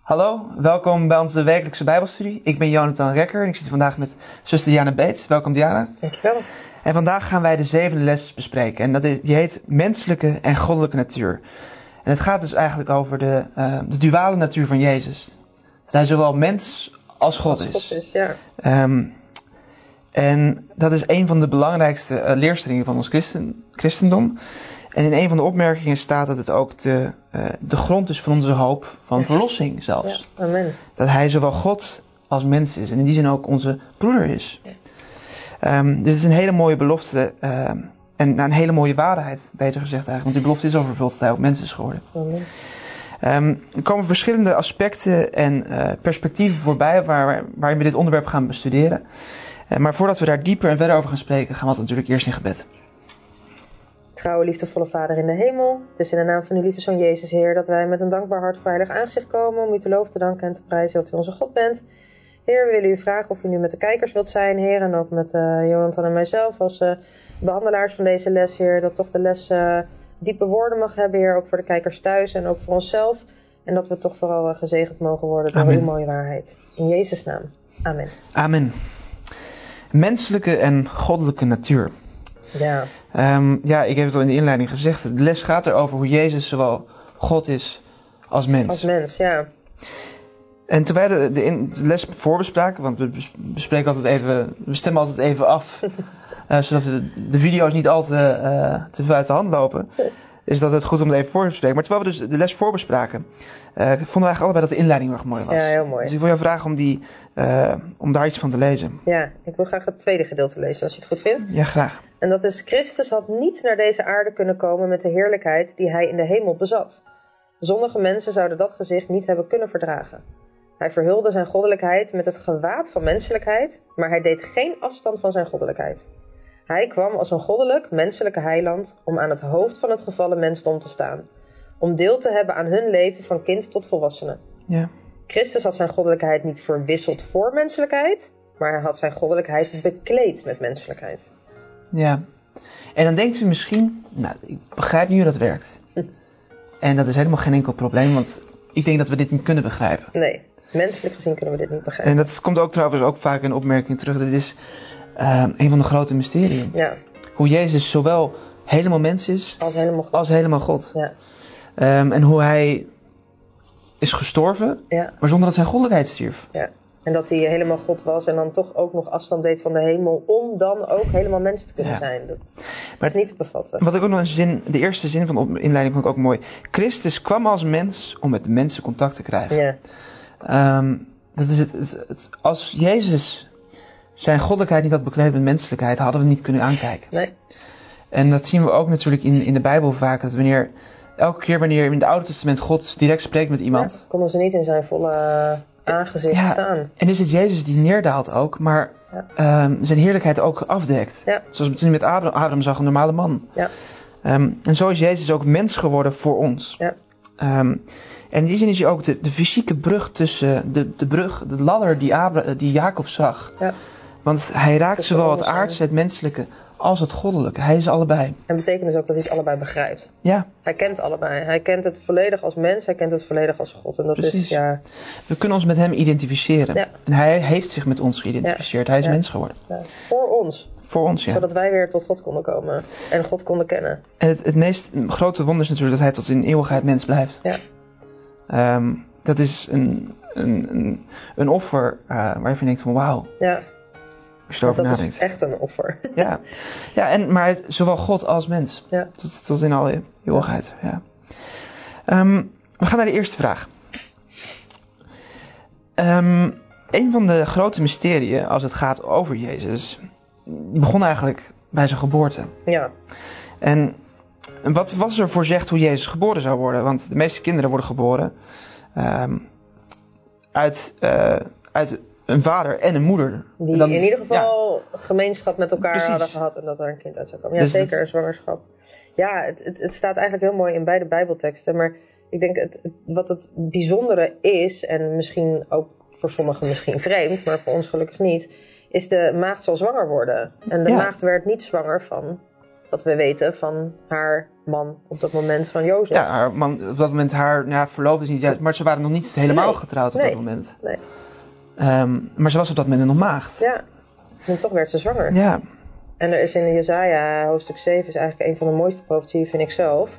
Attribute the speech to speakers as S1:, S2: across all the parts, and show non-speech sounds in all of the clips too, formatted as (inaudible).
S1: Hallo, welkom bij onze wekelijkse Bijbelstudie. Ik ben Jonathan Rekker en ik zit vandaag met zuster Diana Beets. Welkom Diana.
S2: Dankjewel.
S1: En vandaag gaan wij de zevende les bespreken. En dat is- die heet Menselijke en Goddelijke Natuur. En het gaat dus eigenlijk over de, eh, de duale natuur van Jezus. Dat hij zowel mens als God
S2: Als
S1: is.
S2: is, ja.
S1: Ehm, en dat is een van de belangrijkste eh, leerstellingen van ons christen, christendom. En in een van de opmerkingen staat dat het ook de, eh, de grond is van onze hoop van
S2: Ja.
S1: verlossing zelfs.
S2: ja. Amen.
S1: dat hij zowel God als mens is. En in die zin ook onze broeder is. Ehm, dus het is een hele mooie belofte. ehm, en nou, een hele mooie waarheid, beter gezegd eigenlijk. Want die belofte is al vervuld dat hij ook mens is geworden.
S2: Amen.
S1: Ehm, er komen verschillende aspecten en eh, perspectieven voorbij waar, waarin we dit onderwerp gaan bestuderen. Eh, maar voordat we daar dieper en verder over gaan spreken, gaan we het natuurlijk eerst in gebed.
S2: Trouwe, liefdevolle Vader in de hemel, het is in de naam van uw lieve Zoon Jezus Heer dat wij met een dankbaar hart voor heilig aanzicht komen om u te loven, te danken en te prijzen dat u onze God bent. Heer, we willen u vragen of u nu met de kijkers wilt zijn, Heer, en ook met eh Jonathan en mijzelf als eh, behandelaars van deze les, Heer, dat toch de les eh, diepe woorden mag hebben, Heer, ook voor de kijkers thuis en ook voor onszelf. En dat we toch vooral eh, gezegend mogen worden door
S1: Amen.
S2: uw mooie waarheid. In Jezus' naam. Amen.
S1: Amen. Menselijke en goddelijke natuur.
S2: Ja,
S1: Ehm, ja, ik heb het al in de inleiding gezegd. De les gaat erover hoe Jezus zowel God is als mens.
S2: als mens, ja.
S1: En toen wij de, de, in- de les voorbespraken, want we bes- bespreken altijd even, we stemmen altijd even
S2: (laughs)
S1: af, eh, zodat we de, de video's niet al te, eh, te veel uit de hand lopen, is dat het goed om het even voor te bespreken. Maar terwijl we dus de les voorbespraken, eh vonden we eigenlijk allebei dat de inleiding heel erg mooi was.
S2: Ja, heel mooi.
S1: Dus ik wil jou vragen om, die, eh, om daar iets van te lezen.
S2: Ja, ik wil graag het tweede gedeelte lezen als je het goed vindt.
S1: Ja, graag.
S2: En dat is: Christus had niet naar deze aarde kunnen komen met de heerlijkheid die hij in de hemel bezat. Zonnige mensen zouden dat gezicht niet hebben kunnen verdragen. Hij verhulde zijn goddelijkheid met het gewaad van menselijkheid, maar hij deed geen afstand van zijn goddelijkheid. Hij kwam als een goddelijk, menselijke heiland om aan het hoofd van het gevallen mensdom te staan, om deel te hebben aan hun leven van kind tot volwassene.
S1: Ja.
S2: Christus had zijn goddelijkheid niet verwisseld voor menselijkheid, maar hij had zijn goddelijkheid bekleed met menselijkheid.
S1: ja. En dan denkt u misschien, nou, ik begrijp niet hoe dat werkt. En dat is helemaal geen enkel probleem, want ik denk dat we dit niet kunnen begrijpen.
S2: Nee, menselijk gezien kunnen we dit niet begrijpen.
S1: En dat komt ook trouwens ook vaak in opmerking terug. Dit is eh, een van de grote mysterieën.
S2: Ja,
S1: Hoe Jezus zowel helemaal mens is
S2: als helemaal goed.
S1: als helemaal God.
S2: Ja,
S1: Ehm, en hoe hij is gestorven,
S2: ja,
S1: maar zonder dat zijn goddelijkheid stierf.
S2: ja. En dat hij helemaal God was en dan toch ook nog afstand deed van de hemel om dan ook helemaal mens te kunnen
S1: Ja.
S2: zijn. Dat
S1: Maar
S2: is niet te bevatten.
S1: Wat ik ook nog een zin, de eerste zin van de op- inleiding vond ik ook mooi. Christus kwam als mens om met de mensen contact te krijgen.
S2: Ja,
S1: Ehm, dat is het, het- het- als Jezus zijn goddelijkheid niet had bekleed met menselijkheid, hadden we hem niet kunnen aankijken.
S2: nee,
S1: En dat zien we ook natuurlijk in, in de Bijbel vaak. Dat wanneer, elke keer wanneer in het Oude Testament God direct spreekt met iemand.
S2: Ja, konden ze niet in zijn volle eh, aangezicht
S1: Ja.
S2: staan.
S1: En is het Jezus die neerdaalt ook, maar
S2: Ja.
S1: ehm, zijn heerlijkheid ook afdekt.
S2: Ja.
S1: Zoals we toen met Abraham, Abraham zag, een normale man.
S2: Ja.
S1: Ehm, en zo is Jezus ook mens geworden voor ons.
S2: Ja.
S1: Ehm, en in die zin is hij ook de, de fysieke brug tussen, de, de brug, de ladder die, Abra, eh, die Jacob zag.
S2: Ja.
S1: Want hij raakt
S2: Dat
S1: zowel
S2: kan
S1: het
S2: alles zijn.
S1: aardse, het menselijke, als het goddelijke. Hij is allebei.
S2: En betekent dus ook dat hij het allebei begrijpt.
S1: Ja.
S2: Hij kent allebei. Hij kent het volledig als mens, hij kent het volledig als God. En dat
S1: Precies.
S2: is, ja,
S1: We kunnen ons met hem identificeren.
S2: Ja.
S1: En hij heeft zich met ons geïdentificeerd. Hij is
S2: Ja.
S1: mens geworden.
S2: ja, voor ons.
S1: Voor ons, ja.
S2: Zodat wij weer tot God konden komen en God konden kennen.
S1: En het, het meest grote wonder is natuurlijk dat hij tot in eeuwigheid mens blijft.
S2: Ja.
S1: Ehm, dat is een, een, een, een offer eh, waarvan je denkt van wauw,
S2: Ja,
S1: als je
S2: want
S1: erover
S2: dat
S1: nadenkt.
S2: is echt een offer. (laughs)
S1: Ja, ja en, maar het- zowel God als mens.
S2: Ja.
S1: Tot, tot in alle eeuwigheid. Ja. Ehm, we gaan naar de eerste vraag. Ehm, een van de grote mysterieën als het gaat over Jezus begon eigenlijk bij zijn geboorte.
S2: Ja,
S1: En wat was er voorzegd hoe Jezus geboren zou worden? Want de meeste kinderen worden geboren ehm, uit, eh, uit een vader en een moeder.
S2: die
S1: En dan-
S2: in ieder
S1: ja.
S2: geval gemeenschap met elkaar
S1: Precies.
S2: hadden gehad en dat er een kind uit zou komen. Ja,
S1: Dus
S2: zeker,
S1: dat-
S2: een zwangerschap. Ja, het, het, het staat eigenlijk heel mooi in beide Bijbelteksten. Maar ik denk het, het- wat het bijzondere is, en misschien ook voor sommigen misschien vreemd, maar voor ons gelukkig niet, is de maagd zal zwanger worden. En de
S1: Ja.
S2: maagd werd niet zwanger van wat we weten van haar man op dat moment van Jozef.
S1: Ja, haar man, op dat moment haar nou ja, verloofd is niet juist, maar ze waren nog niet helemaal
S2: Nee,
S1: getrouwd op
S2: nee,
S1: dat moment.
S2: nee.
S1: Ehm, maar ze was op dat moment nog maagd.
S2: Ja, en toch werd ze zwanger.
S1: Ja,
S2: En er is in Jezaja, hoofdstuk 7, is eigenlijk een van de mooiste profetieën, vind ik zelf.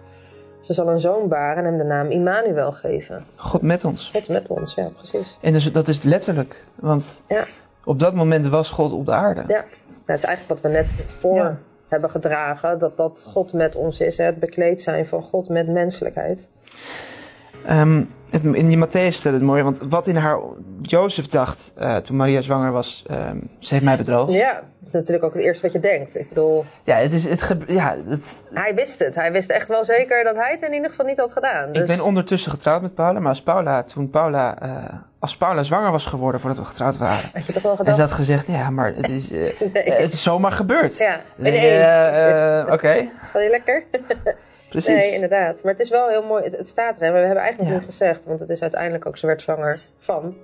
S2: Ze zal een zoon baren en hem de naam Immanuel geven.
S1: God met ons.
S2: God met ons, ja, precies.
S1: En dus, dat is letterlijk, want
S2: Ja.
S1: op dat moment was God op de aarde.
S2: Ja, nou, het is eigenlijk wat we net voor
S1: Ja.
S2: hebben gedragen, dat dat God met ons is. Hè? Het bekleed zijn van God met menselijkheid.
S1: Ehm, het, in die Matthäus staat het mooi, want wat in haar Jozef dacht eh, toen Maria zwanger was, ehm, ze heeft mij bedrogen. Ja,
S2: Ja, dat is natuurlijk ook het eerste wat je denkt. Ik bedoel,
S1: het is, het gebe- ja het,
S2: hij wist het. Hij wist echt wel zeker dat hij het in ieder geval niet had gedaan. Dus,
S1: ik ben ondertussen getrouwd met Paula, maar als Paula, toen Paula, eh, als Paula zwanger was geworden voordat we getrouwd waren,
S2: had je toch wel
S1: en ze
S2: gedacht?
S1: had gezegd, ja, maar het is, eh,
S2: (laughs) Nee.
S1: eh, het is zomaar gebeurd.
S2: Ja,
S1: Dan denk je,
S2: ineens.
S1: eh, eh, Oké,
S2: Ga je lekker?
S1: precies.
S2: Nee, inderdaad. Maar het is wel heel mooi. Het, het staat er. Hè? We hebben eigenlijk nog
S1: Ja.
S2: niet gezegd, want het is uiteindelijk ook ze werd zwanger van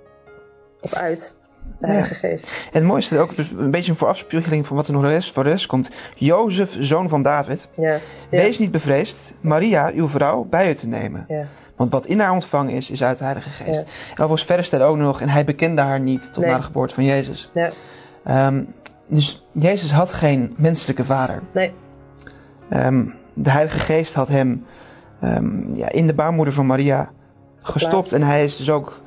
S2: of uit de
S1: Ja.
S2: Heilige Geest.
S1: En het mooiste, ook een beetje een voorafspiegeling van wat er nog rest, voor de rest komt. Jozef, zoon van David,
S2: Ja, Ja.
S1: wees niet bevreesd Maria, uw vrouw, bij u te nemen.
S2: ja.
S1: Want wat in haar ontvangen is, is uit de Heilige Geest. En overigens verder staat ook nog, en hij bekende haar niet tot
S2: Nee.
S1: na de geboorte van Jezus.
S2: Ja.
S1: Ehm, dus Jezus had geen menselijke vader.
S2: Nee.
S1: Ehm, de Heilige Geest had hem ehm, ja, in de baarmoeder van Maria gestopt.
S2: Geplaatst.
S1: En hij is dus ook,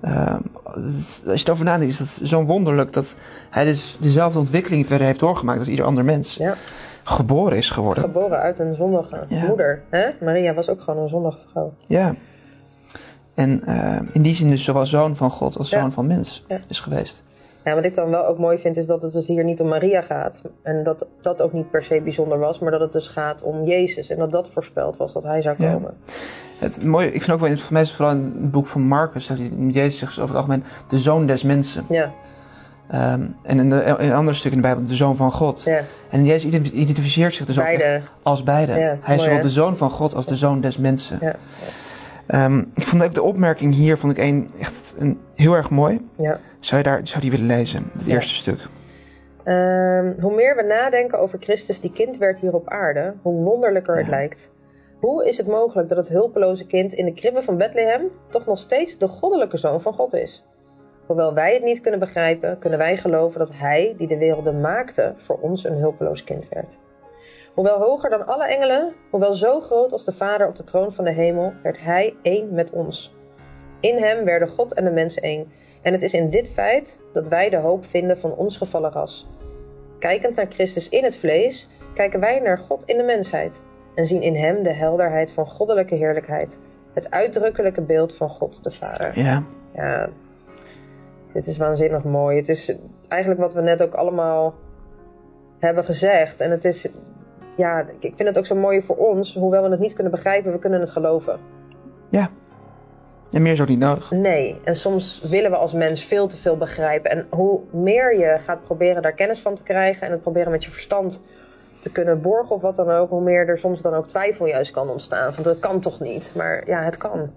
S1: ehm, als je erover nadenkt, is dat zo wonderlijk dat hij dus dezelfde ontwikkeling verder heeft doorgemaakt als ieder ander mens.
S2: Ja.
S1: Geboren is geworden.
S2: Geboren uit een zondige
S1: Ja.
S2: moeder. Hè? Maria was ook gewoon een zondige vrouw.
S1: Ja. En ehm, in die zin dus zowel zoon van God als
S2: Ja.
S1: zoon van mens
S2: Ja.
S1: is geweest.
S2: Ja, wat ik dan wel ook mooi vind, is dat het dus hier niet om Maria gaat. En dat dat ook niet per se bijzonder was, maar dat het dus gaat om Jezus. En dat dat voorspeld was dat hij zou
S1: Ja.
S2: komen.
S1: Het mooie, ik vind ook wel, voor mij is het vooral in het boek van Marcus, dat hij- Jezus zegt over het algemeen de zoon des mensen.
S2: Ja,
S1: Ehm, en in, de, in andere stukken in de Bijbel de zoon van God.
S2: ja,
S1: En Jezus ident- identificeert zich dus ook echt
S2: beide.
S1: als beide.
S2: Ja,
S1: hij
S2: mooi,
S1: is zowel
S2: hè?
S1: de zoon van God als de zoon des mensen.
S2: Ja.
S1: Ehm, ik vond ook de opmerking hier vond ik een, echt een, heel erg mooi.
S2: Ja.
S1: Zou je daar, zou die willen lezen, het
S2: Ja.
S1: eerste stuk?
S2: Ehm, hoe meer we nadenken over Christus die kind werd hier op aarde, hoe wonderlijker het
S1: Ja.
S2: lijkt. Hoe is het mogelijk dat het hulpeloze kind in de kribben van Bethlehem toch nog steeds de goddelijke zoon van God is? Hoewel wij het niet kunnen begrijpen, kunnen wij geloven dat Hij, die de werelden maakte, voor ons een hulpeloos kind werd. Hoewel hoger dan alle engelen, hoewel zo groot als de Vader op de troon van de hemel, werd Hij één met ons. In Hem werden God en de mensen één. En het is in dit feit dat wij de hoop vinden van ons gevallen ras. Kijkend naar Christus in het vlees, kijken wij naar God in de mensheid en zien in hem de helderheid van goddelijke heerlijkheid, het uitdrukkelijke beeld van God de Vader.
S1: Ja.
S2: Ja, dit is waanzinnig mooi. Het is eigenlijk wat we net ook allemaal hebben gezegd. En het is, ja, ik- ik vind het ook zo mooi voor ons, hoewel we het niet kunnen begrijpen, we kunnen het geloven.
S1: En meer is ook niet nodig.
S2: Nee, en soms willen we als mens veel te veel begrijpen. En hoe meer je gaat proberen daar kennis van te krijgen en het proberen met je verstand te kunnen borgen of wat dan ook, hoe meer er soms dan ook twijfel juist kan ontstaan. Want dat kan toch niet? Maar ja, het kan.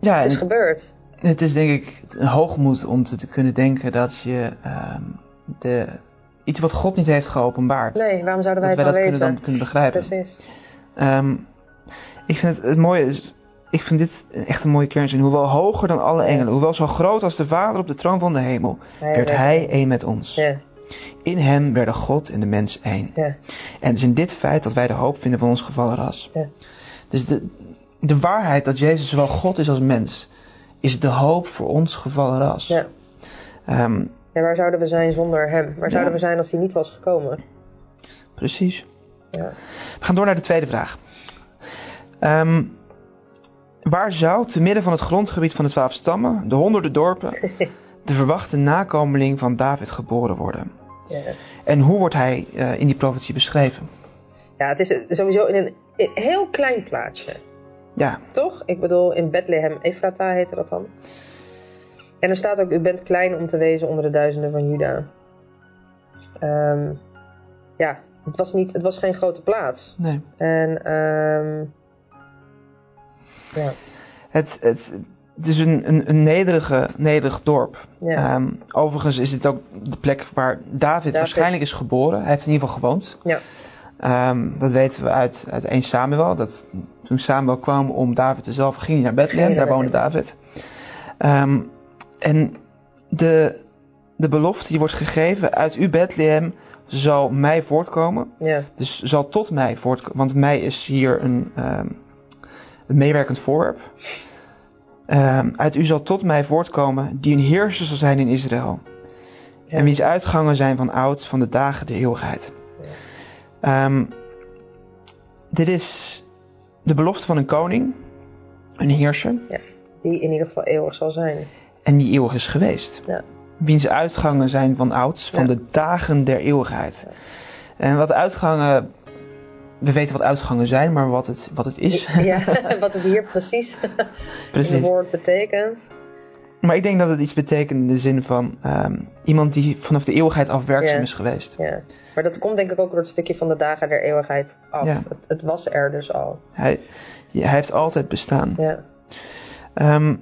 S1: Ja,
S2: Het is
S1: en
S2: gebeurd.
S1: Het is denk ik een hoogmoed om te, te kunnen denken dat je ehm, de, iets wat God niet heeft geopenbaard,
S2: Nee, waarom zouden
S1: dat
S2: wij
S1: wij
S2: het
S1: dat
S2: dan
S1: kunnen, dan
S2: weten? Dus
S1: kunnen begrijpen.
S2: Precies.
S1: Ehm, ik vind het, het mooie is, ik vind dit echt een mooie kernzin. Hoewel hoger dan alle engelen, hoewel zo groot als de Vader op de troon van de hemel, werd Hij één met ons.
S2: Ja,
S1: In Hem werden God en de mens één.
S2: ja,
S1: En het is in dit feit dat wij de hoop vinden van ons gevallen ras.
S2: Ja.
S1: Dus de, de waarheid dat Jezus zowel God is als mens, is de hoop voor ons gevallen ras.
S2: ja.
S1: Ehm,
S2: En waar zouden we zijn zonder hem? Waar
S1: Ja.
S2: zouden we zijn als hij niet was gekomen?
S1: Precies.
S2: Ja.
S1: We gaan door naar de tweede vraag. Ehm, waar zou, te midden van het grondgebied van de twaalf stammen, de honderden dorpen,
S2: (laughs)
S1: de verwachte nakomeling van David geboren worden?
S2: Ja.
S1: En hoe wordt hij eh, in die profetie beschreven?
S2: ja, het is sowieso in een in een heel klein plaatsje.
S1: Ja,
S2: Toch? Ik bedoel, in Bethlehem Efrata heette dat dan. En er staat ook, u bent klein om te wezen onder de duizenden van Juda. Ehm, ja, het was, niet, het was geen grote plaats.
S1: nee.
S2: En ehm, ja,
S1: Het, het, het is een, een, een nederige, nederig dorp.
S2: ja,
S1: Ehm, overigens is dit ook de plek waar David, waarschijnlijk is geboren. Hij heeft in ieder geval gewoond.
S2: Ja.
S1: Ehm, dat weten we uit, uit 1 Samuel. Dat toen Samuel kwam om David te zelf, ging hij naar Bethlehem.
S2: Ging hij
S1: Daar
S2: naar
S1: woonde David. Ehm, en de, de belofte die wordt gegeven uit u Bethlehem zal mij voortkomen.
S2: Ja,
S1: Dus zal tot mij voortkomen. Want mij is hier een, ehm, een meewerkend voorwerp. Ehm, uit u zal tot mij voortkomen die een heerser zal zijn in Israël.
S2: Ja.
S1: En wiens uitgangen zijn van oud, van de dagen de eeuwigheid. Ehm, dit is de belofte van een koning, een heerser,
S2: die in ieder geval eeuwig zal zijn.
S1: en die eeuwig is geweest.
S2: Ja.
S1: Wiens uitgangen zijn van ouds, van
S2: Ja.
S1: de dagen der eeuwigheid. En wat uitgangen, we weten wat uitgangen zijn, maar wat het, wat het is, (laughs)
S2: Ja, (laughs) wat het hier precies in het
S1: precies.
S2: woord betekent.
S1: Maar ik denk dat het iets betekent in de zin van ehm, iemand die vanaf de eeuwigheid af werkzaam
S2: Ja.
S1: is geweest.
S2: Ja. Maar dat komt denk ik ook door het stukje van de dagen der eeuwigheid af.
S1: Ja.
S2: Het, het was er dus al.
S1: Hij, hij heeft altijd bestaan.
S2: Ja.
S1: Ehm,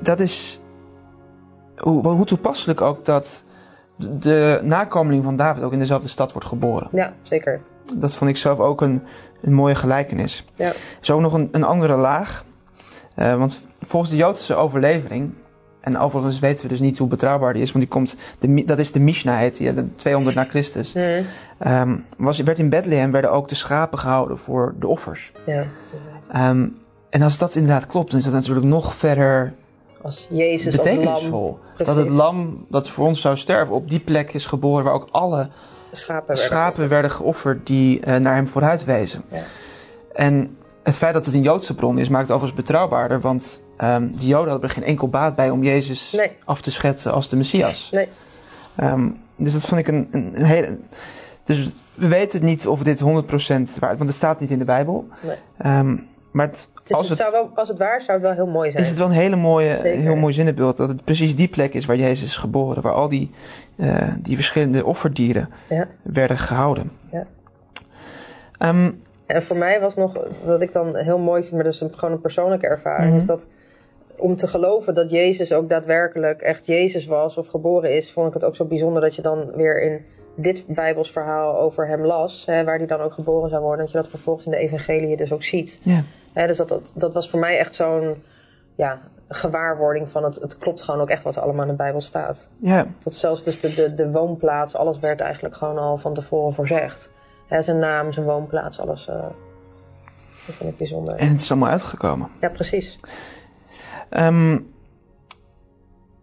S1: dat is hoe, hoe toepasselijk ook dat de- de nakomeling van David ook in dezelfde stad wordt geboren.
S2: ja, zeker.
S1: Dat vond ik zelf ook een, een mooie gelijkenis.
S2: Ja.
S1: Er is ook nog een, een andere laag. Eh, want volgens de Joodse overlevering, en overigens weten we dus niet hoe betrouwbaar die is, want die komt, de, Mi- dat is de Mishnah, heet die, hè, de 200 na Christus.
S2: Hm.
S1: Ehm, was, werd in Bethlehem werden ook de schapen gehouden voor de offers.
S2: ja.
S1: Ehm, en als dat inderdaad klopt, dan is dat natuurlijk nog verder
S2: Als Jezus als lam
S1: betekenisvol. dat
S2: Precies.
S1: het lam dat voor ons zou sterven op die plek is geboren waar ook alle
S2: schapen werden.
S1: schapen werden geofferd die eh, naar hem vooruit wezen.
S2: Ja.
S1: En het feit dat het een Joodse bron is, maakt het overigens betrouwbaarder, want ehm de Joden hadden er geen enkel baat bij om Jezus
S2: Nee.
S1: af te schetsen als de Messias.
S2: Nee.
S1: Ehm, dus dat vond ik een, een, een hele. Dus we weten niet of dit 100% waar want het staat niet in de Bijbel.
S2: Nee.
S1: Ehm, maar het,
S2: Het is-
S1: als
S2: het
S1: het,
S2: zou wel, als het waar zou het wel heel mooi zijn.
S1: is het wel een hele mooie,
S2: Zeker.
S1: heel mooi zinnenbeeld dat het precies die plek is waar Jezus is geboren, waar al die, eh, die verschillende offerdieren
S2: Ja.
S1: werden gehouden.
S2: Ja.
S1: Ehm,
S2: En voor mij was nog, wat ik dan heel mooi vind, maar dat is een, gewoon een persoonlijke ervaring,
S1: Mhm.
S2: is dat om te geloven dat Jezus ook daadwerkelijk echt Jezus was of geboren is, vond ik het ook zo bijzonder dat je dan weer in dit Bijbels verhaal over hem las, hè, waar hij dan ook geboren zou worden, dat je dat vervolgens in de evangelie dus ook ziet.
S1: ja.
S2: Hè, dus dat, dat, dat was voor mij echt zo'n ja, gewaarwording van het, het klopt gewoon ook echt wat er allemaal in de Bijbel staat.
S1: ja,
S2: Dat zelfs dus de, de, de woonplaats, alles werd eigenlijk gewoon al van tevoren voorzegd. Hè, zijn naam, zijn woonplaats, alles. eh, dat vind ik bijzonder.
S1: en het is allemaal uitgekomen.
S2: Ja, precies.
S1: Ehm,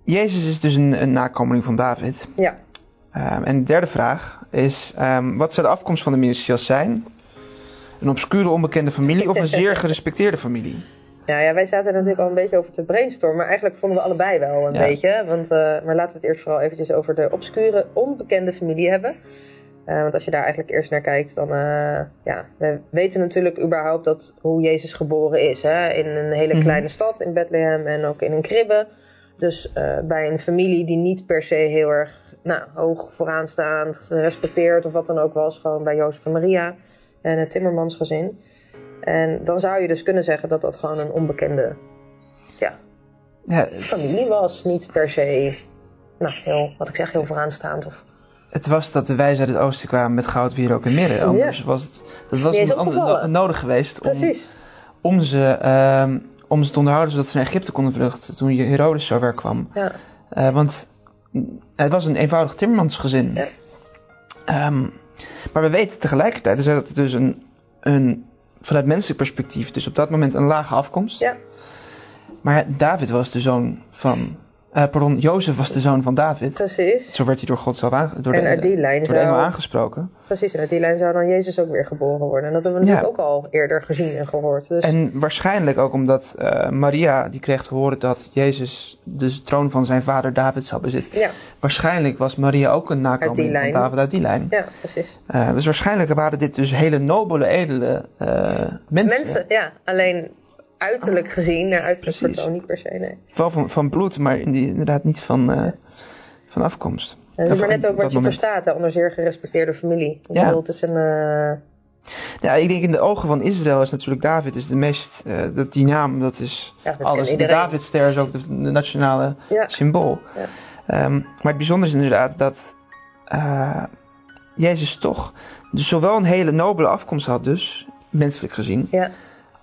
S1: Jezus is dus een, een nakomeling van David.
S2: Ja,
S1: Ehm, en de derde vraag is: ehm, wat zou de afkomst van de Messias zijn? Een obscure onbekende familie of een
S2: (laughs)
S1: zeer gerespecteerde familie?
S2: nou ja, wij zaten er natuurlijk al een beetje over te brainstormen. Maar eigenlijk vonden we allebei wel een
S1: Ja.
S2: beetje. Want, eh, maar laten we het eerst vooral eventjes over de obscure, onbekende familie hebben. Eh, want als je daar eigenlijk eerst naar kijkt, dan... eh, ja, we weten natuurlijk überhaupt dat, hoe Jezus geboren is. Hè? In een hele
S1: Mhm.
S2: kleine stad, in Bethlehem en ook in een kribbe. Dus eh, bij een familie die niet per se heel erg nou, hoog vooraanstaand, gerespecteerd of wat dan ook was. Gewoon bij Jozef en Maria en het Timmermansgezin. En dan zou je dus kunnen zeggen dat dat gewoon een onbekende
S1: Ja,
S2: familie was. Niet per se, nou, heel, wat ik zeg, heel vooraanstaand. Of,
S1: het was dat de wijzen uit het oosten kwamen met goud, bier ook en midden. Anders was het, dat was
S2: Die is
S1: onder andere
S2: opgevallen.
S1: no- nodig geweest om,
S2: precies.
S1: om, ze, ehm, om ze te onderhouden zodat ze naar Egypte konden vluchten toen Herodes zover kwam.
S2: Ja,
S1: Eh, want het was een eenvoudig timmermansgezin.
S2: Ja.
S1: Ehm, maar we weten tegelijkertijd dus dat het dus een, een, vanuit menselijk perspectief, dus op dat moment een lage afkomst.
S2: Ja.
S1: Maar David was de zoon van, eh, pardon, Jozef was de zoon van David.
S2: precies.
S1: Zo werd hij door God zelf aange- door
S2: En
S1: de,
S2: uit die lijn
S1: door de engel
S2: zou,
S1: aangesproken.
S2: precies, en uit die lijn zou dan Jezus ook weer geboren worden. En dat hebben we
S1: Ja.
S2: natuurlijk ook al eerder gezien en gehoord. Dus
S1: En waarschijnlijk ook omdat eh, Maria, die kreeg te horen dat Jezus dus de troon van zijn vader David zou bezitten.
S2: ja,
S1: Waarschijnlijk was Maria ook een
S2: Uit die
S1: nakomeling van
S2: lijn.
S1: David uit die lijn.
S2: ja, precies.
S1: Eh, dus waarschijnlijk waren dit dus hele nobele, edele eh, mensen.
S2: Mensen, ja, alleen uiterlijk gezien, naar uiterlijk
S1: Ah, Precies.
S2: vertoon niet per se, nee.
S1: Wel van, van bloed, maar in die- inderdaad niet van, eh, van afkomst.
S2: Ja, Dat is maar
S1: Even
S2: net ook
S1: op dat
S2: wat je
S1: moment.
S2: verstaat hè, onder zeer gerespecteerde familie. Ik
S1: Ja.
S2: bedoel, het is een... eh,
S1: Ja, Nou, ik denk in de ogen van Israël is natuurlijk David is de meest... eh, dat die naam, dat is
S2: ja, dat kent
S1: alles. De
S2: iedereen.
S1: Davidster is ook de, de nationale
S2: Ja.
S1: symbool.
S2: Ja.
S1: Ehm, maar het bijzondere is inderdaad dat... eh, Jezus toch dus zowel een hele nobele afkomst had, dus menselijk gezien,
S2: Ja,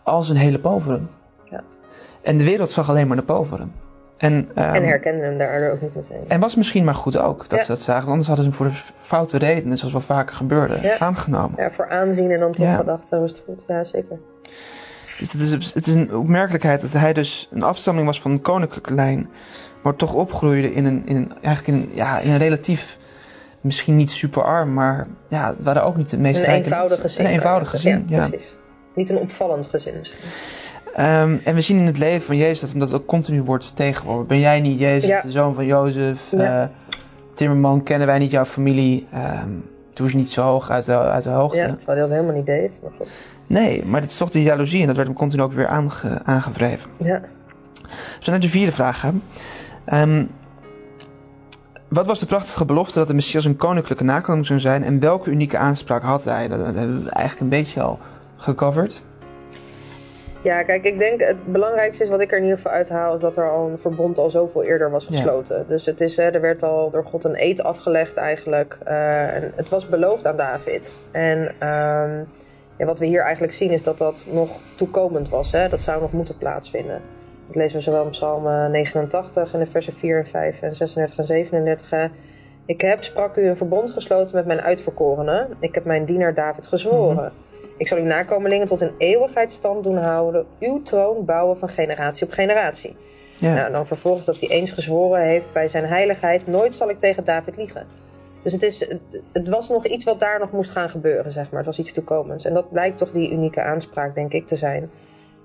S1: als een hele poveren.
S2: Ja.
S1: En de wereld zag alleen maar de poveren. En, ehm,
S2: en herkenden hem daardoor ook niet meteen.
S1: en was misschien maar goed ook dat
S2: Ja.
S1: ze dat zagen, want anders hadden ze hem voor de foute redenen, zoals wel vaker gebeurde,
S2: Ja.
S1: aangenomen.
S2: Ja, voor aanzien en dan toch
S1: Ja.
S2: gedachten was het goed. Ja, zeker.
S1: Dus het is, het is een opmerkelijkheid dat hij dus een afstammeling was van een koninklijke lijn, maar toch opgroeide in een, in een, eigenlijk in een, ja, in een relatief, misschien niet superarm, maar ja, het waren ook niet de meest
S2: Een
S1: rijke
S2: eenvoudig
S1: mensen.
S2: gezin.
S1: Een eenvoudig
S2: eigenlijk.
S1: gezin, ja.
S2: precies. Niet een opvallend gezin misschien.
S1: Ehm, en we zien in het leven van Jezus dat hem dat ook continu wordt vertegenwoordigd. Ben jij niet Jezus,
S2: Ja.
S1: de zoon van Jozef?
S2: Ja.
S1: Eh, Timmerman, kennen wij niet jouw familie? Ehm doe ze niet zo hoog uit de, uit de hoogte.
S2: Ja, terwijl hij dat helemaal niet deed. Maar goed.
S1: Nee, maar dit is toch de jaloezie en dat werd hem continu ook weer aange, aangewreven.
S2: Ja.
S1: We zijn naar de vierde vraag gaan. Ehm, wat was de prachtige belofte dat de Messias een koninklijke nakomer zou zijn en welke unieke aanspraak had hij? Dat, dat hebben we eigenlijk een beetje al gecoverd.
S2: ja, kijk, ik denk het belangrijkste is wat ik er in ieder geval uithaal... is dat er al een verbond al zoveel eerder was
S1: Ja.
S2: gesloten. Dus het is, hè, er werd al door God een eed afgelegd eigenlijk. Eh, en het was beloofd aan David. En ehm, ja, wat we hier eigenlijk zien is dat dat nog toekomend was. Hè? Dat zou nog moeten plaatsvinden. Dat lezen we zowel in Psalm eh, 89 en de versen 4 en 5 en 36 en 37. hè. Ik heb, sprak u, een verbond gesloten met mijn uitverkorenen. Ik heb mijn dienaar David gezworen. Ik zal uw nakomelingen tot een eeuwigheid stand doen houden. Uw troon bouwen van generatie op generatie.
S1: Ja.
S2: Nou, dan vervolgens dat hij eens gezworen heeft bij zijn heiligheid: nooit zal ik tegen David liegen. Dus het, is, het, het was nog iets wat daar nog moest gaan gebeuren, zeg maar. Het was iets toekomends. En dat blijkt toch die unieke aanspraak, denk ik, te zijn.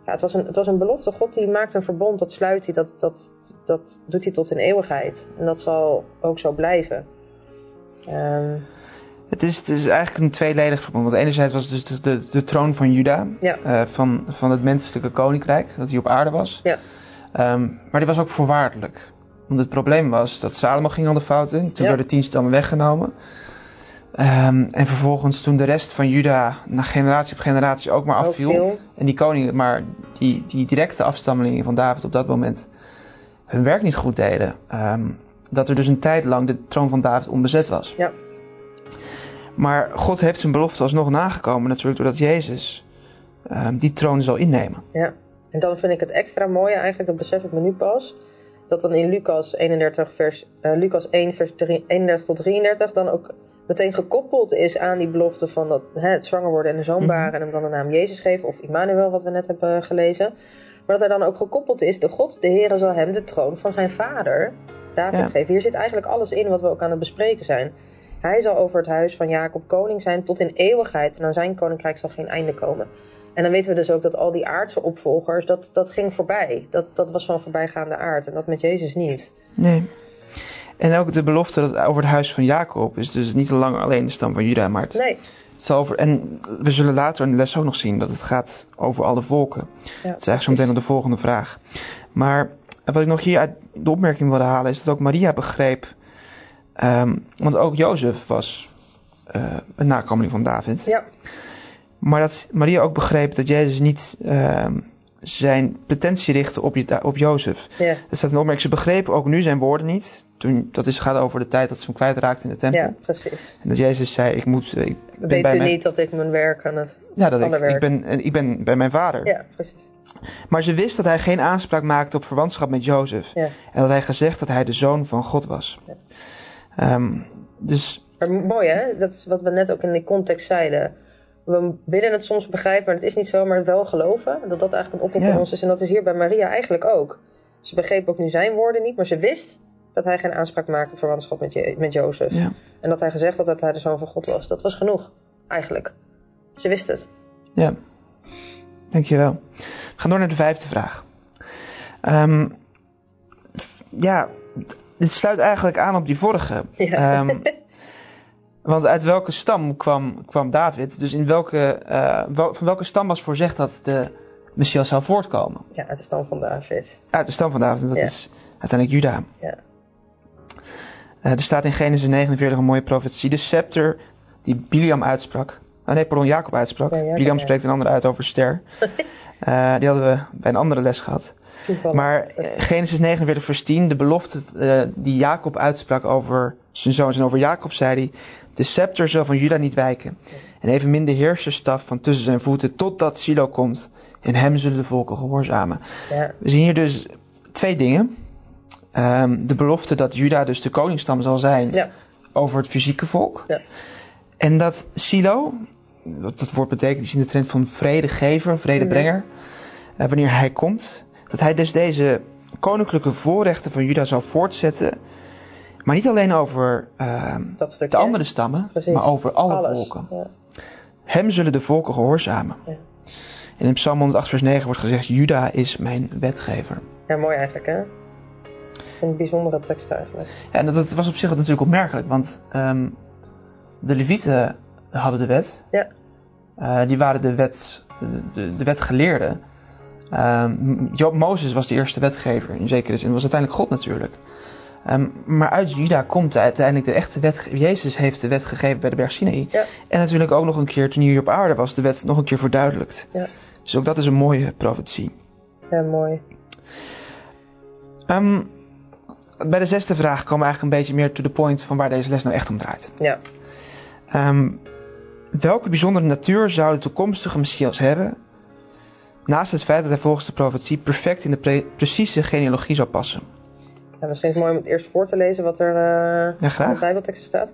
S2: Ja, het, was een, het was een belofte. God die maakt een verbond, dat sluit hij, dat, dat, dat doet hij tot in eeuwigheid. En dat zal ook zo blijven. Ehm,
S1: Het is, het is eigenlijk een tweeledig verbond. Want enerzijds was het dus de, de, de troon van Juda,
S2: Ja.
S1: eh, van, van het menselijke koninkrijk, dat hij op aarde was.
S2: Ja.
S1: Ehm, maar die was ook voorwaardelijk. Want het probleem was dat Salomo ging al de fout in. Toen
S2: Ja.
S1: werden tien stammen weggenomen. Ehm, en vervolgens toen de rest van Juda na generatie op generatie ook maar
S2: ook
S1: afviel.
S2: veel.
S1: En die koningen, maar die, die directe afstammelingen van David op dat moment hun werk niet goed deden. Ehm, dat er dus een tijd lang de troon van David onbezet was.
S2: Ja.
S1: Maar God heeft zijn belofte alsnog nagekomen, natuurlijk doordat Jezus ehm, die troon zal innemen.
S2: Ja, en dan vind ik het extra mooie eigenlijk, dat besef ik me nu pas, dat dan in Lucas, 31 vers, eh, Lucas 1, vers 3 31 tot 33 dan ook meteen gekoppeld is aan die belofte van dat, hè, het zwanger worden en de zoon baren en hem dan de naam Jezus geven, of Immanuel, wat we net hebben eh, gelezen. Maar dat hij dan ook gekoppeld is, de God, de Heere zal hem de troon van zijn vader, David,
S1: Ja.
S2: geven. Hier zit eigenlijk alles in wat we ook aan het bespreken zijn. Hij zal over het huis van Jacob koning zijn tot in eeuwigheid en aan zijn koninkrijk zal geen einde komen. En dan weten we dus ook dat al die aardse opvolgers, dat, dat ging voorbij. Dat, dat was van voorbijgaande aard en dat met Jezus niet.
S1: Nee. En ook de belofte dat over het huis van Jacob is dus niet lang alleen de stam van Juda, maar het
S2: Nee,
S1: Het zal over, en we zullen later in de les ook nog zien dat het gaat over alle volken.
S2: Ja,
S1: het is eigenlijk zo meteen op de volgende vraag. Maar eh, wat ik nog hier uit de opmerking wilde halen is dat ook Maria begreep. ehm, want ook Jozef was eh, een nakomeling van David.
S2: ja,
S1: Maar dat Maria ook begreep dat Jezus niet ehm, zijn pretentie richtte op, Je- op Jozef.
S2: ja,
S1: Er staat een opmerking, ze begrepen ook nu zijn woorden niet. Toen, dat is, gaat over de tijd dat ze hem kwijtraakte in de tempel.
S2: ja, precies.
S1: En dat Jezus zei, ik, moet, ik ben
S2: Weet
S1: bij
S2: u
S1: mijn
S2: niet dat ik mijn werk aan het...
S1: ja, dat ik,
S2: Ander werk.
S1: ik, ben, eh, ik ben bij mijn vader.
S2: Ja, precies.
S1: Maar ze wist dat hij geen aanspraak maakte op verwantschap met Jozef.
S2: Ja.
S1: En dat hij gezegd dat hij de zoon van God was.
S2: Ja.
S1: Ehm, dus
S2: Maar mooi hè, dat is wat we net ook in die context zeiden. We willen het soms begrijpen, maar het is niet zo, maar wel geloven. Dat dat eigenlijk een oproep
S1: Ja.
S2: van ons is. En dat is hier bij Maria eigenlijk ook. Ze begreep ook nu zijn woorden niet, maar ze wist dat hij geen aanspraak maakte op verwantschap met, Je- met Jozef.
S1: ja,
S2: En dat hij gezegd had dat hij de zoon van God was. Dat was genoeg, eigenlijk. Ze wist het.
S1: ja. Dankjewel. We gaan door naar de vijfde vraag. Ehm, f- ja, d- dit sluit eigenlijk aan op die vorige.
S2: Ja. (laughs)
S1: Ehm, want uit welke stam kwam, kwam David? Dus in welke, eh, wel- van welke stam was voorzegd dat de Messias zou voortkomen?
S2: Ja, uit de stam van David.
S1: Uit de stam van David, en dat
S2: Ja.
S1: is uiteindelijk Juda.
S2: Ja.
S1: Eh, er staat in Genesis 49 een mooie profetie. De scepter die Biliam uitsprak, Ah nee, pardon, Jacob uitsprak.
S2: Ja, Jacob,
S1: Biliam
S2: ja.
S1: spreekt een ander uit over
S2: (laughs)
S1: ster. Eh, die hadden we bij een andere les gehad.
S2: Toevallig.
S1: Maar eh, Genesis 49 vers 10, de belofte eh, die Jacob uitsprak over zijn zoons en over Jacob, zei hij... De scepter zal van Juda niet wijken en evenmin de heerserstaf van tussen zijn voeten totdat Silo komt. En hem zullen de volken gehoorzamen.
S2: ja,
S1: We zien hier dus twee dingen. Ehm, de belofte dat Juda dus de koningsstam zal zijn
S2: ja,
S1: over het fysieke volk.
S2: Ja.
S1: En dat silo, wat dat woord betekent, is in de trend van vredegever, vredebrenger.
S2: Mhm.
S1: Eh, wanneer hij komt, dat hij dus deze koninklijke voorrechten van Juda zal voortzetten. Maar niet alleen over ehm,
S2: dat stukje.
S1: de andere stammen,
S2: Precies.
S1: maar over alle
S2: Alles.
S1: volken.
S2: Ja.
S1: Hem zullen de volken gehoorzamen.
S2: Ja.
S1: En in Psalm 108 vers 9 wordt gezegd, Juda is mijn wetgever.
S2: ja, mooi eigenlijk hè. Een bijzondere tekst eigenlijk.
S1: Ja, en dat, dat was op zich natuurlijk opmerkelijk, want ehm, de Levieten hadden de wet.
S2: Ja.
S1: Eh, die waren de, wet, de, de, de wetgeleerden. Ehm, M- Job Mozes was de eerste wetgever in zekere zin. was uiteindelijk God natuurlijk. Ehm, maar uit Juda komt uiteindelijk de echte wet. Jezus heeft de wet gegeven bij de berg Sinai.
S2: Ja.
S1: En natuurlijk ook nog een keer toen hij hier op aarde was, de wet nog een keer verduidelijkt.
S2: Ja.
S1: Dus ook dat is een mooie profetie.
S2: Ja, mooi.
S1: Ehm, bij de zesde vraag komen we eigenlijk een beetje meer to the point van waar deze les nou echt om draait.
S2: Ja.
S1: Ehm, welke bijzondere natuur zou de toekomstige Messias hebben? Naast het feit dat hij volgens de profetie perfect in de pre- precieze genealogie zou passen.
S2: Ja, misschien is het mooi om het eerst voor te lezen wat er eh,
S1: Ja, graag.
S2: in de Bijbelteksten staat.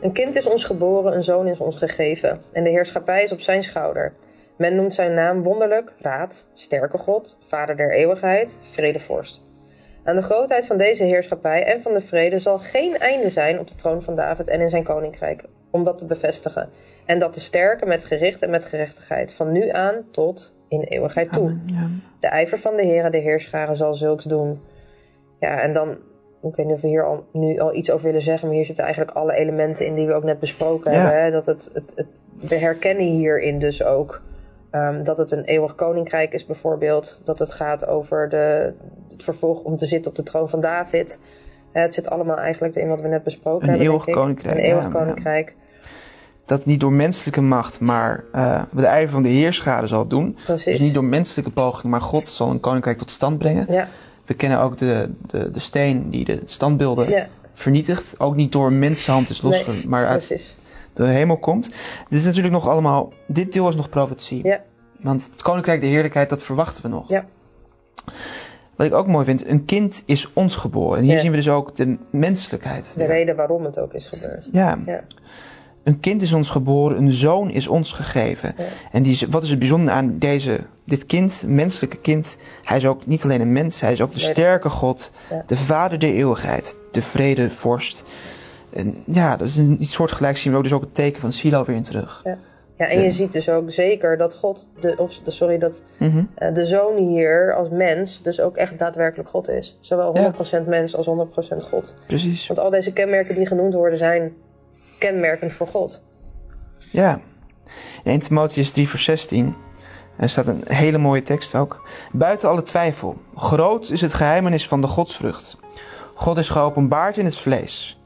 S2: Een kind is ons geboren, een zoon is ons gegeven. En de heerschappij is op zijn schouder. Men noemt zijn naam wonderlijk, raad, sterke God, vader der eeuwigheid, vredevorst. Aan de grootheid van deze heerschappij en van de vrede zal geen einde zijn op de troon van David en in zijn koninkrijk, om dat te bevestigen. En dat te sterken met gericht en met gerechtigheid, van nu aan tot in eeuwigheid toe.
S1: Amen, ja.
S2: De ijver van de heren, de heerscharen, zal zulks doen. Ja, en dan, ik weet niet of we hier al, nu al iets over willen zeggen, maar hier zitten eigenlijk alle elementen in die we ook net besproken
S1: Ja.
S2: hebben. Hè? Dat het, het, het, we herkennen hierin dus ook ehm, dat het een eeuwig koninkrijk is bijvoorbeeld. Dat het gaat over de, het vervolg om te zitten op de troon van David. Eh, het zit allemaal eigenlijk erin wat we net besproken
S1: Een
S2: hebben.
S1: eeuwig
S2: denk ik.
S1: koninkrijk,
S2: Een eeuwig
S1: ja, ja.
S2: koninkrijk,
S1: Dat niet door menselijke macht, maar eh, de ijver van de heerschade zal doen.
S2: precies.
S1: Dus niet door menselijke poging, maar God zal een koninkrijk tot stand brengen.
S2: Ja,
S1: We kennen ook de, de, de steen die de standbeelden
S2: ja
S1: vernietigt. Ook niet door mensenhand is
S2: Nee,
S1: losgemaakt, maar uit
S2: precies.
S1: de hemel komt. Dit is natuurlijk nog allemaal, dit deel is nog profetie.
S2: Ja.
S1: Want het koninkrijk, de heerlijkheid, dat verwachten we nog.
S2: Ja.
S1: Wat ik ook mooi vind, een kind is ons geboren. En hier
S2: Ja.
S1: zien we dus ook de menselijkheid.
S2: De reden waarom het ook is gebeurd.
S1: Ja.
S2: Ja.
S1: Een kind is ons geboren, een zoon is ons gegeven.
S2: Ja.
S1: En die, is- wat is het bijzondere aan deze, dit kind, menselijke kind? Hij is ook niet alleen een mens, hij is ook de
S2: Nee.
S1: sterke God,
S2: Ja.
S1: de vader der eeuwigheid, de vrede vorst. En ja, dat is een iets soortgelijks zien we ook, dus ook het teken van Silo weer in terug.
S2: Ja, en je
S1: Ja.
S2: ziet dus ook zeker dat God, de, of de- sorry, dat
S1: Mhm.
S2: eh, de zoon hier als mens dus ook echt daadwerkelijk God is. Zowel
S1: Ja.
S2: 100% mens als 100% God.
S1: Precies.
S2: Want al deze kenmerken die genoemd worden zijn kenmerkend voor God.
S1: Ja. In 1 Timotheus 3 vers 16 er staat een hele mooie tekst ook. Buiten alle twijfel, groot is het geheimenis van de godsvrucht. God is geopenbaard in het vlees,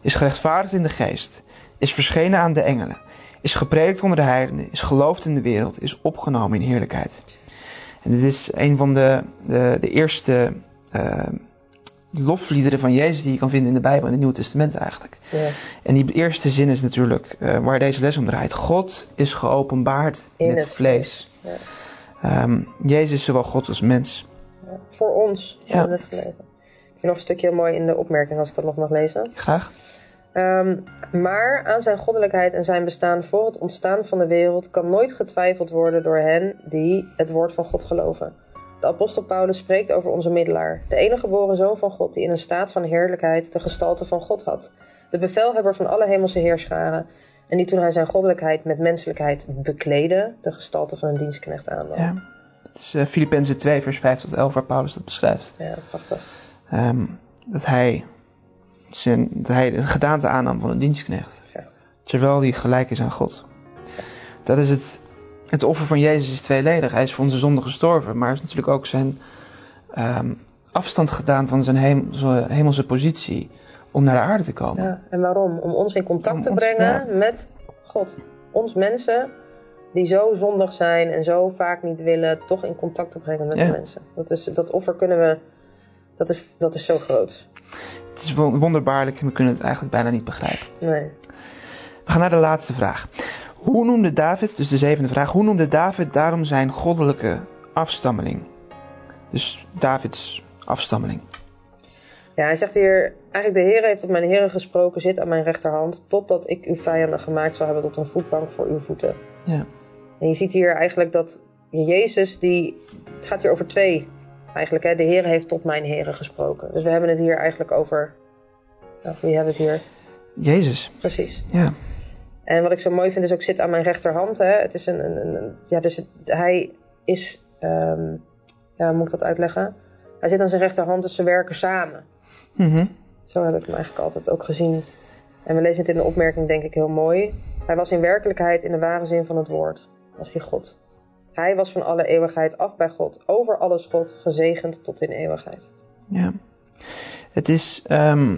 S1: is gerechtvaardigd in de geest, is verschenen aan de engelen, is gepredikt onder de heidenen, is geloofd in de wereld, is opgenomen in heerlijkheid. En dit is een van de, de, de eerste eh, lofliederen van Jezus die je kan vinden in de Bijbel, in het Nieuwe Testament eigenlijk.
S2: Ja,
S1: En die eerste zin is natuurlijk eh, waar deze les om draait. God is geopenbaard in, het vlees.
S2: Ja.
S1: Ehm, Jezus is zowel God als mens.
S2: voor ons,
S1: Ja.
S2: hebben we net gelezen. Ik vind nog een stukje mooi in de opmerking als ik dat nog mag lezen.
S1: Graag.
S2: Ehm, maar aan zijn goddelijkheid en zijn bestaan voor het ontstaan van de wereld kan nooit getwijfeld worden door hen die het woord van God geloven. De apostel Paulus spreekt over onze middelaar, de enige geboren zoon van God die in een staat van heerlijkheid de gestalte van God had, de bevelhebber van alle hemelse heerscharen, en die toen hij zijn goddelijkheid met menselijkheid bekleedde, de gestalte van een dienstknecht aannam. Ja,
S1: Ja. Het is eh Filippenzen 2 vers 5 tot 11 waar Paulus dat beschrijft.
S2: prachtig.
S1: Ehm, dat, hij zijn, dat hij een gedaante aannam van een dienstknecht.
S2: Ja.
S1: Terwijl hij gelijk is aan God. Dat is het, het offer van Jezus is tweeledig. Hij is voor onze zonde gestorven. Maar hij is natuurlijk ook zijn ehm, afstand gedaan van zijn hemelse, hemelse positie. Om naar de aarde te komen.
S2: Ja, en waarom? Om ons in contact
S1: Om
S2: te
S1: ons-
S2: brengen met God. ons mensen die zo zondig zijn en zo vaak niet willen, toch in contact te brengen met
S1: Ja.
S2: de mensen. Dat, is, dat offer kunnen we, dat is, dat is zo groot.
S1: Het is won- wonderbaarlijk en we kunnen het eigenlijk bijna niet begrijpen.
S2: Nee.
S1: We gaan naar de laatste vraag. Hoe noemde David, dus de zevende vraag, hoe noemde David daarom zijn goddelijke afstammeling? Dus Davids afstammeling.
S2: Ja, hij zegt hier, eigenlijk de Heer heeft op mijn heren gesproken, zit aan mijn rechterhand, totdat ik uw vijanden gemaakt zal hebben tot een voetbank voor uw voeten.
S1: Ja.
S2: En je ziet hier eigenlijk dat Jezus, die, het gaat hier over twee eigenlijk. Hè? De Heer heeft tot mijn heren gesproken. Dus we hebben het hier eigenlijk over, nou, wie hebben het hier?
S1: Jezus,
S2: Precies.
S1: ja.
S2: En wat ik zo mooi vind is ook zit aan mijn rechterhand. Hè? Het is een, een, een- een- ja, dus het- hij is, ehm, ja, hoe moet ik dat uitleggen? Hij zit aan zijn rechterhand, dus ze werken samen.
S1: Mhm.
S2: Zo heb ik hem eigenlijk altijd ook gezien. En we lezen het in de opmerking, denk ik, heel mooi. Hij was in werkelijkheid, in de ware zin van het woord, was hij God. Hij was van alle eeuwigheid af bij God, over alles God, gezegend tot in eeuwigheid.
S1: ja. Het is, ehm,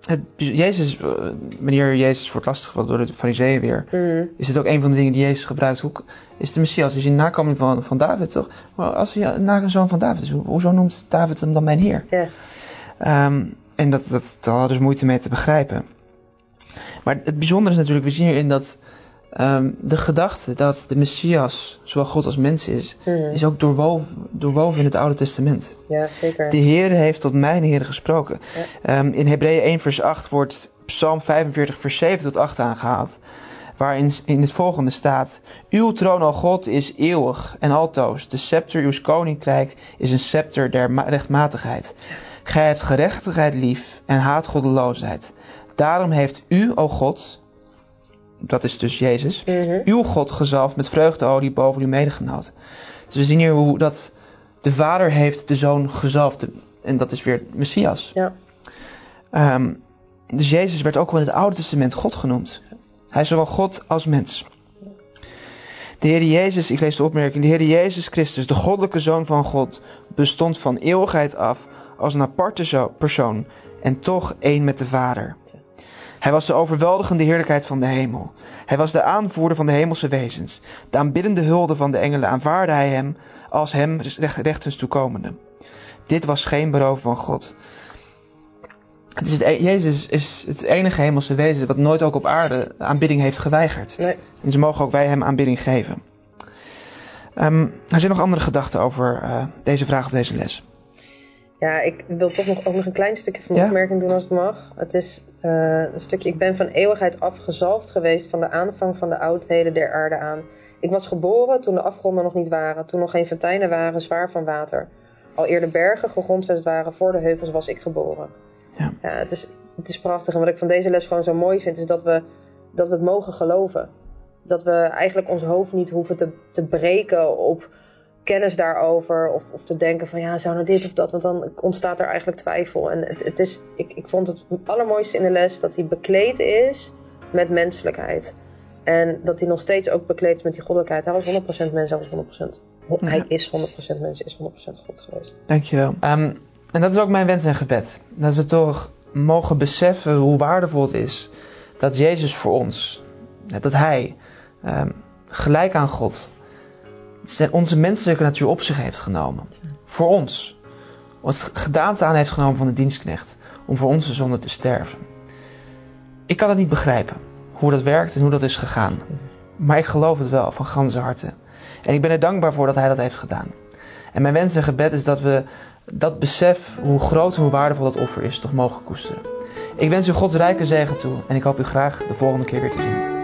S1: het, Jezus, eh, wanneer Jezus wordt lastiggevallen door de fariseeën weer,
S2: Mm.
S1: is dit ook een van de dingen die Jezus gebruikt. Hoe, is de Messias, is hij een nakomeling van, van David, toch? Maar als hij een nakomeling van David is, hoe- hoezo noemt David hem dan mijn heer?
S2: Ja.
S1: Ehm, en dat, dat, daar hadden ze moeite mee te begrijpen. Maar het bijzondere is natuurlijk, we zien hierin dat ehm, de gedachte dat de Messias, zowel God als mens is,
S2: Mm.
S1: is ook doorwoven, doorwoven in het Oude Testament.
S2: Ja, zeker.
S1: De Heer heeft tot mijn Heer gesproken. Ehm, in Hebreeën 1 vers 8 wordt Psalm 45 vers 7 tot 8 aangehaald. Waarin s- in het volgende staat... Uw troon, o God, is eeuwig en altoos. De scepter uws koninkrijk is een scepter der ma- rechtmatigheid. Gij hebt gerechtigheid lief en haat goddeloosheid. Daarom heeft u, o God... Dat is dus Jezus
S2: Mhm.
S1: uw God gezalfd met vreugdeolie boven uw medegenoten. Dus we zien hier hoe dat de Vader heeft de Zoon gezalfd. En dat is weer Messias.
S2: Ja.
S1: Ehm, dus Jezus werd ook wel in het Oude Testament God genoemd. Hij is zowel God als mens. De Heer Jezus, ik lees de opmerking, de Heer Jezus Christus, de goddelijke Zoon van God, bestond van eeuwigheid af als een aparte zo- persoon en toch één met de Vader. Hij was de overweldigende heerlijkheid van de hemel. Hij was de aanvoerder van de hemelse wezens. De aanbiddende hulde van de engelen aanvaarde hij hem als hem recht- rechtens toekomende. Dit was geen beroven van God. Het is het e- Jezus is het enige hemelse wezen wat nooit ook op aarde aanbidding heeft geweigerd.
S2: Nee.
S1: En ze mogen ook wij hem aanbidding geven. Ehm, er zijn nog andere gedachten over eh, deze vraag of deze les.
S2: Ja, ik wil toch nog, ook nog een klein stukje van de
S1: Ja?
S2: opmerking doen als het mag. Het is eh, een stukje, ik ben van eeuwigheid afgezalfd geweest van de aanvang van de oudheden der aarde aan. Ik was geboren toen de afgronden nog niet waren, toen nog geen fonteinen waren, zwaar van water. Al eer de bergen gegrondvest waren, voor de heuvels was ik geboren.
S1: Ja.
S2: het, is, het is prachtig. En wat ik van deze les gewoon zo mooi vind, is dat we, dat we het mogen geloven. Dat we eigenlijk ons hoofd niet hoeven te, te breken op kennis daarover. Of, of te denken van ja, zou nou dit of dat. Want dan ontstaat er eigenlijk twijfel. En het, het is, ik, ik vond het allermooiste in de les dat hij bekleed is met menselijkheid. En dat hij nog steeds ook bekleed is met die goddelijkheid. Hij was 100% mens, hij was 100%. Ho-
S1: Ja.
S2: Hij is 100% mens, is 100% God geweest.
S1: Dankjewel. Ehm, en dat is ook mijn wens en gebed. Dat we toch mogen beseffen hoe waardevol het is dat Jezus voor ons, dat Hij ehm, gelijk aan God, zijn- onze menselijke natuur op zich heeft genomen. Voor ons. Wat gedaante aan heeft genomen van de dienstknecht. Om voor onze zonde te sterven. Ik kan het niet begrijpen hoe dat werkt en hoe dat is gegaan. Maar ik geloof het wel van ganse harte. En ik ben er dankbaar voor dat Hij dat heeft gedaan. En mijn wens en gebed is dat we dat besef, hoe groot en hoe waardevol dat offer is, toch mogen koesteren. Ik wens u Gods rijke zegen toe en ik hoop u graag de volgende keer weer te zien.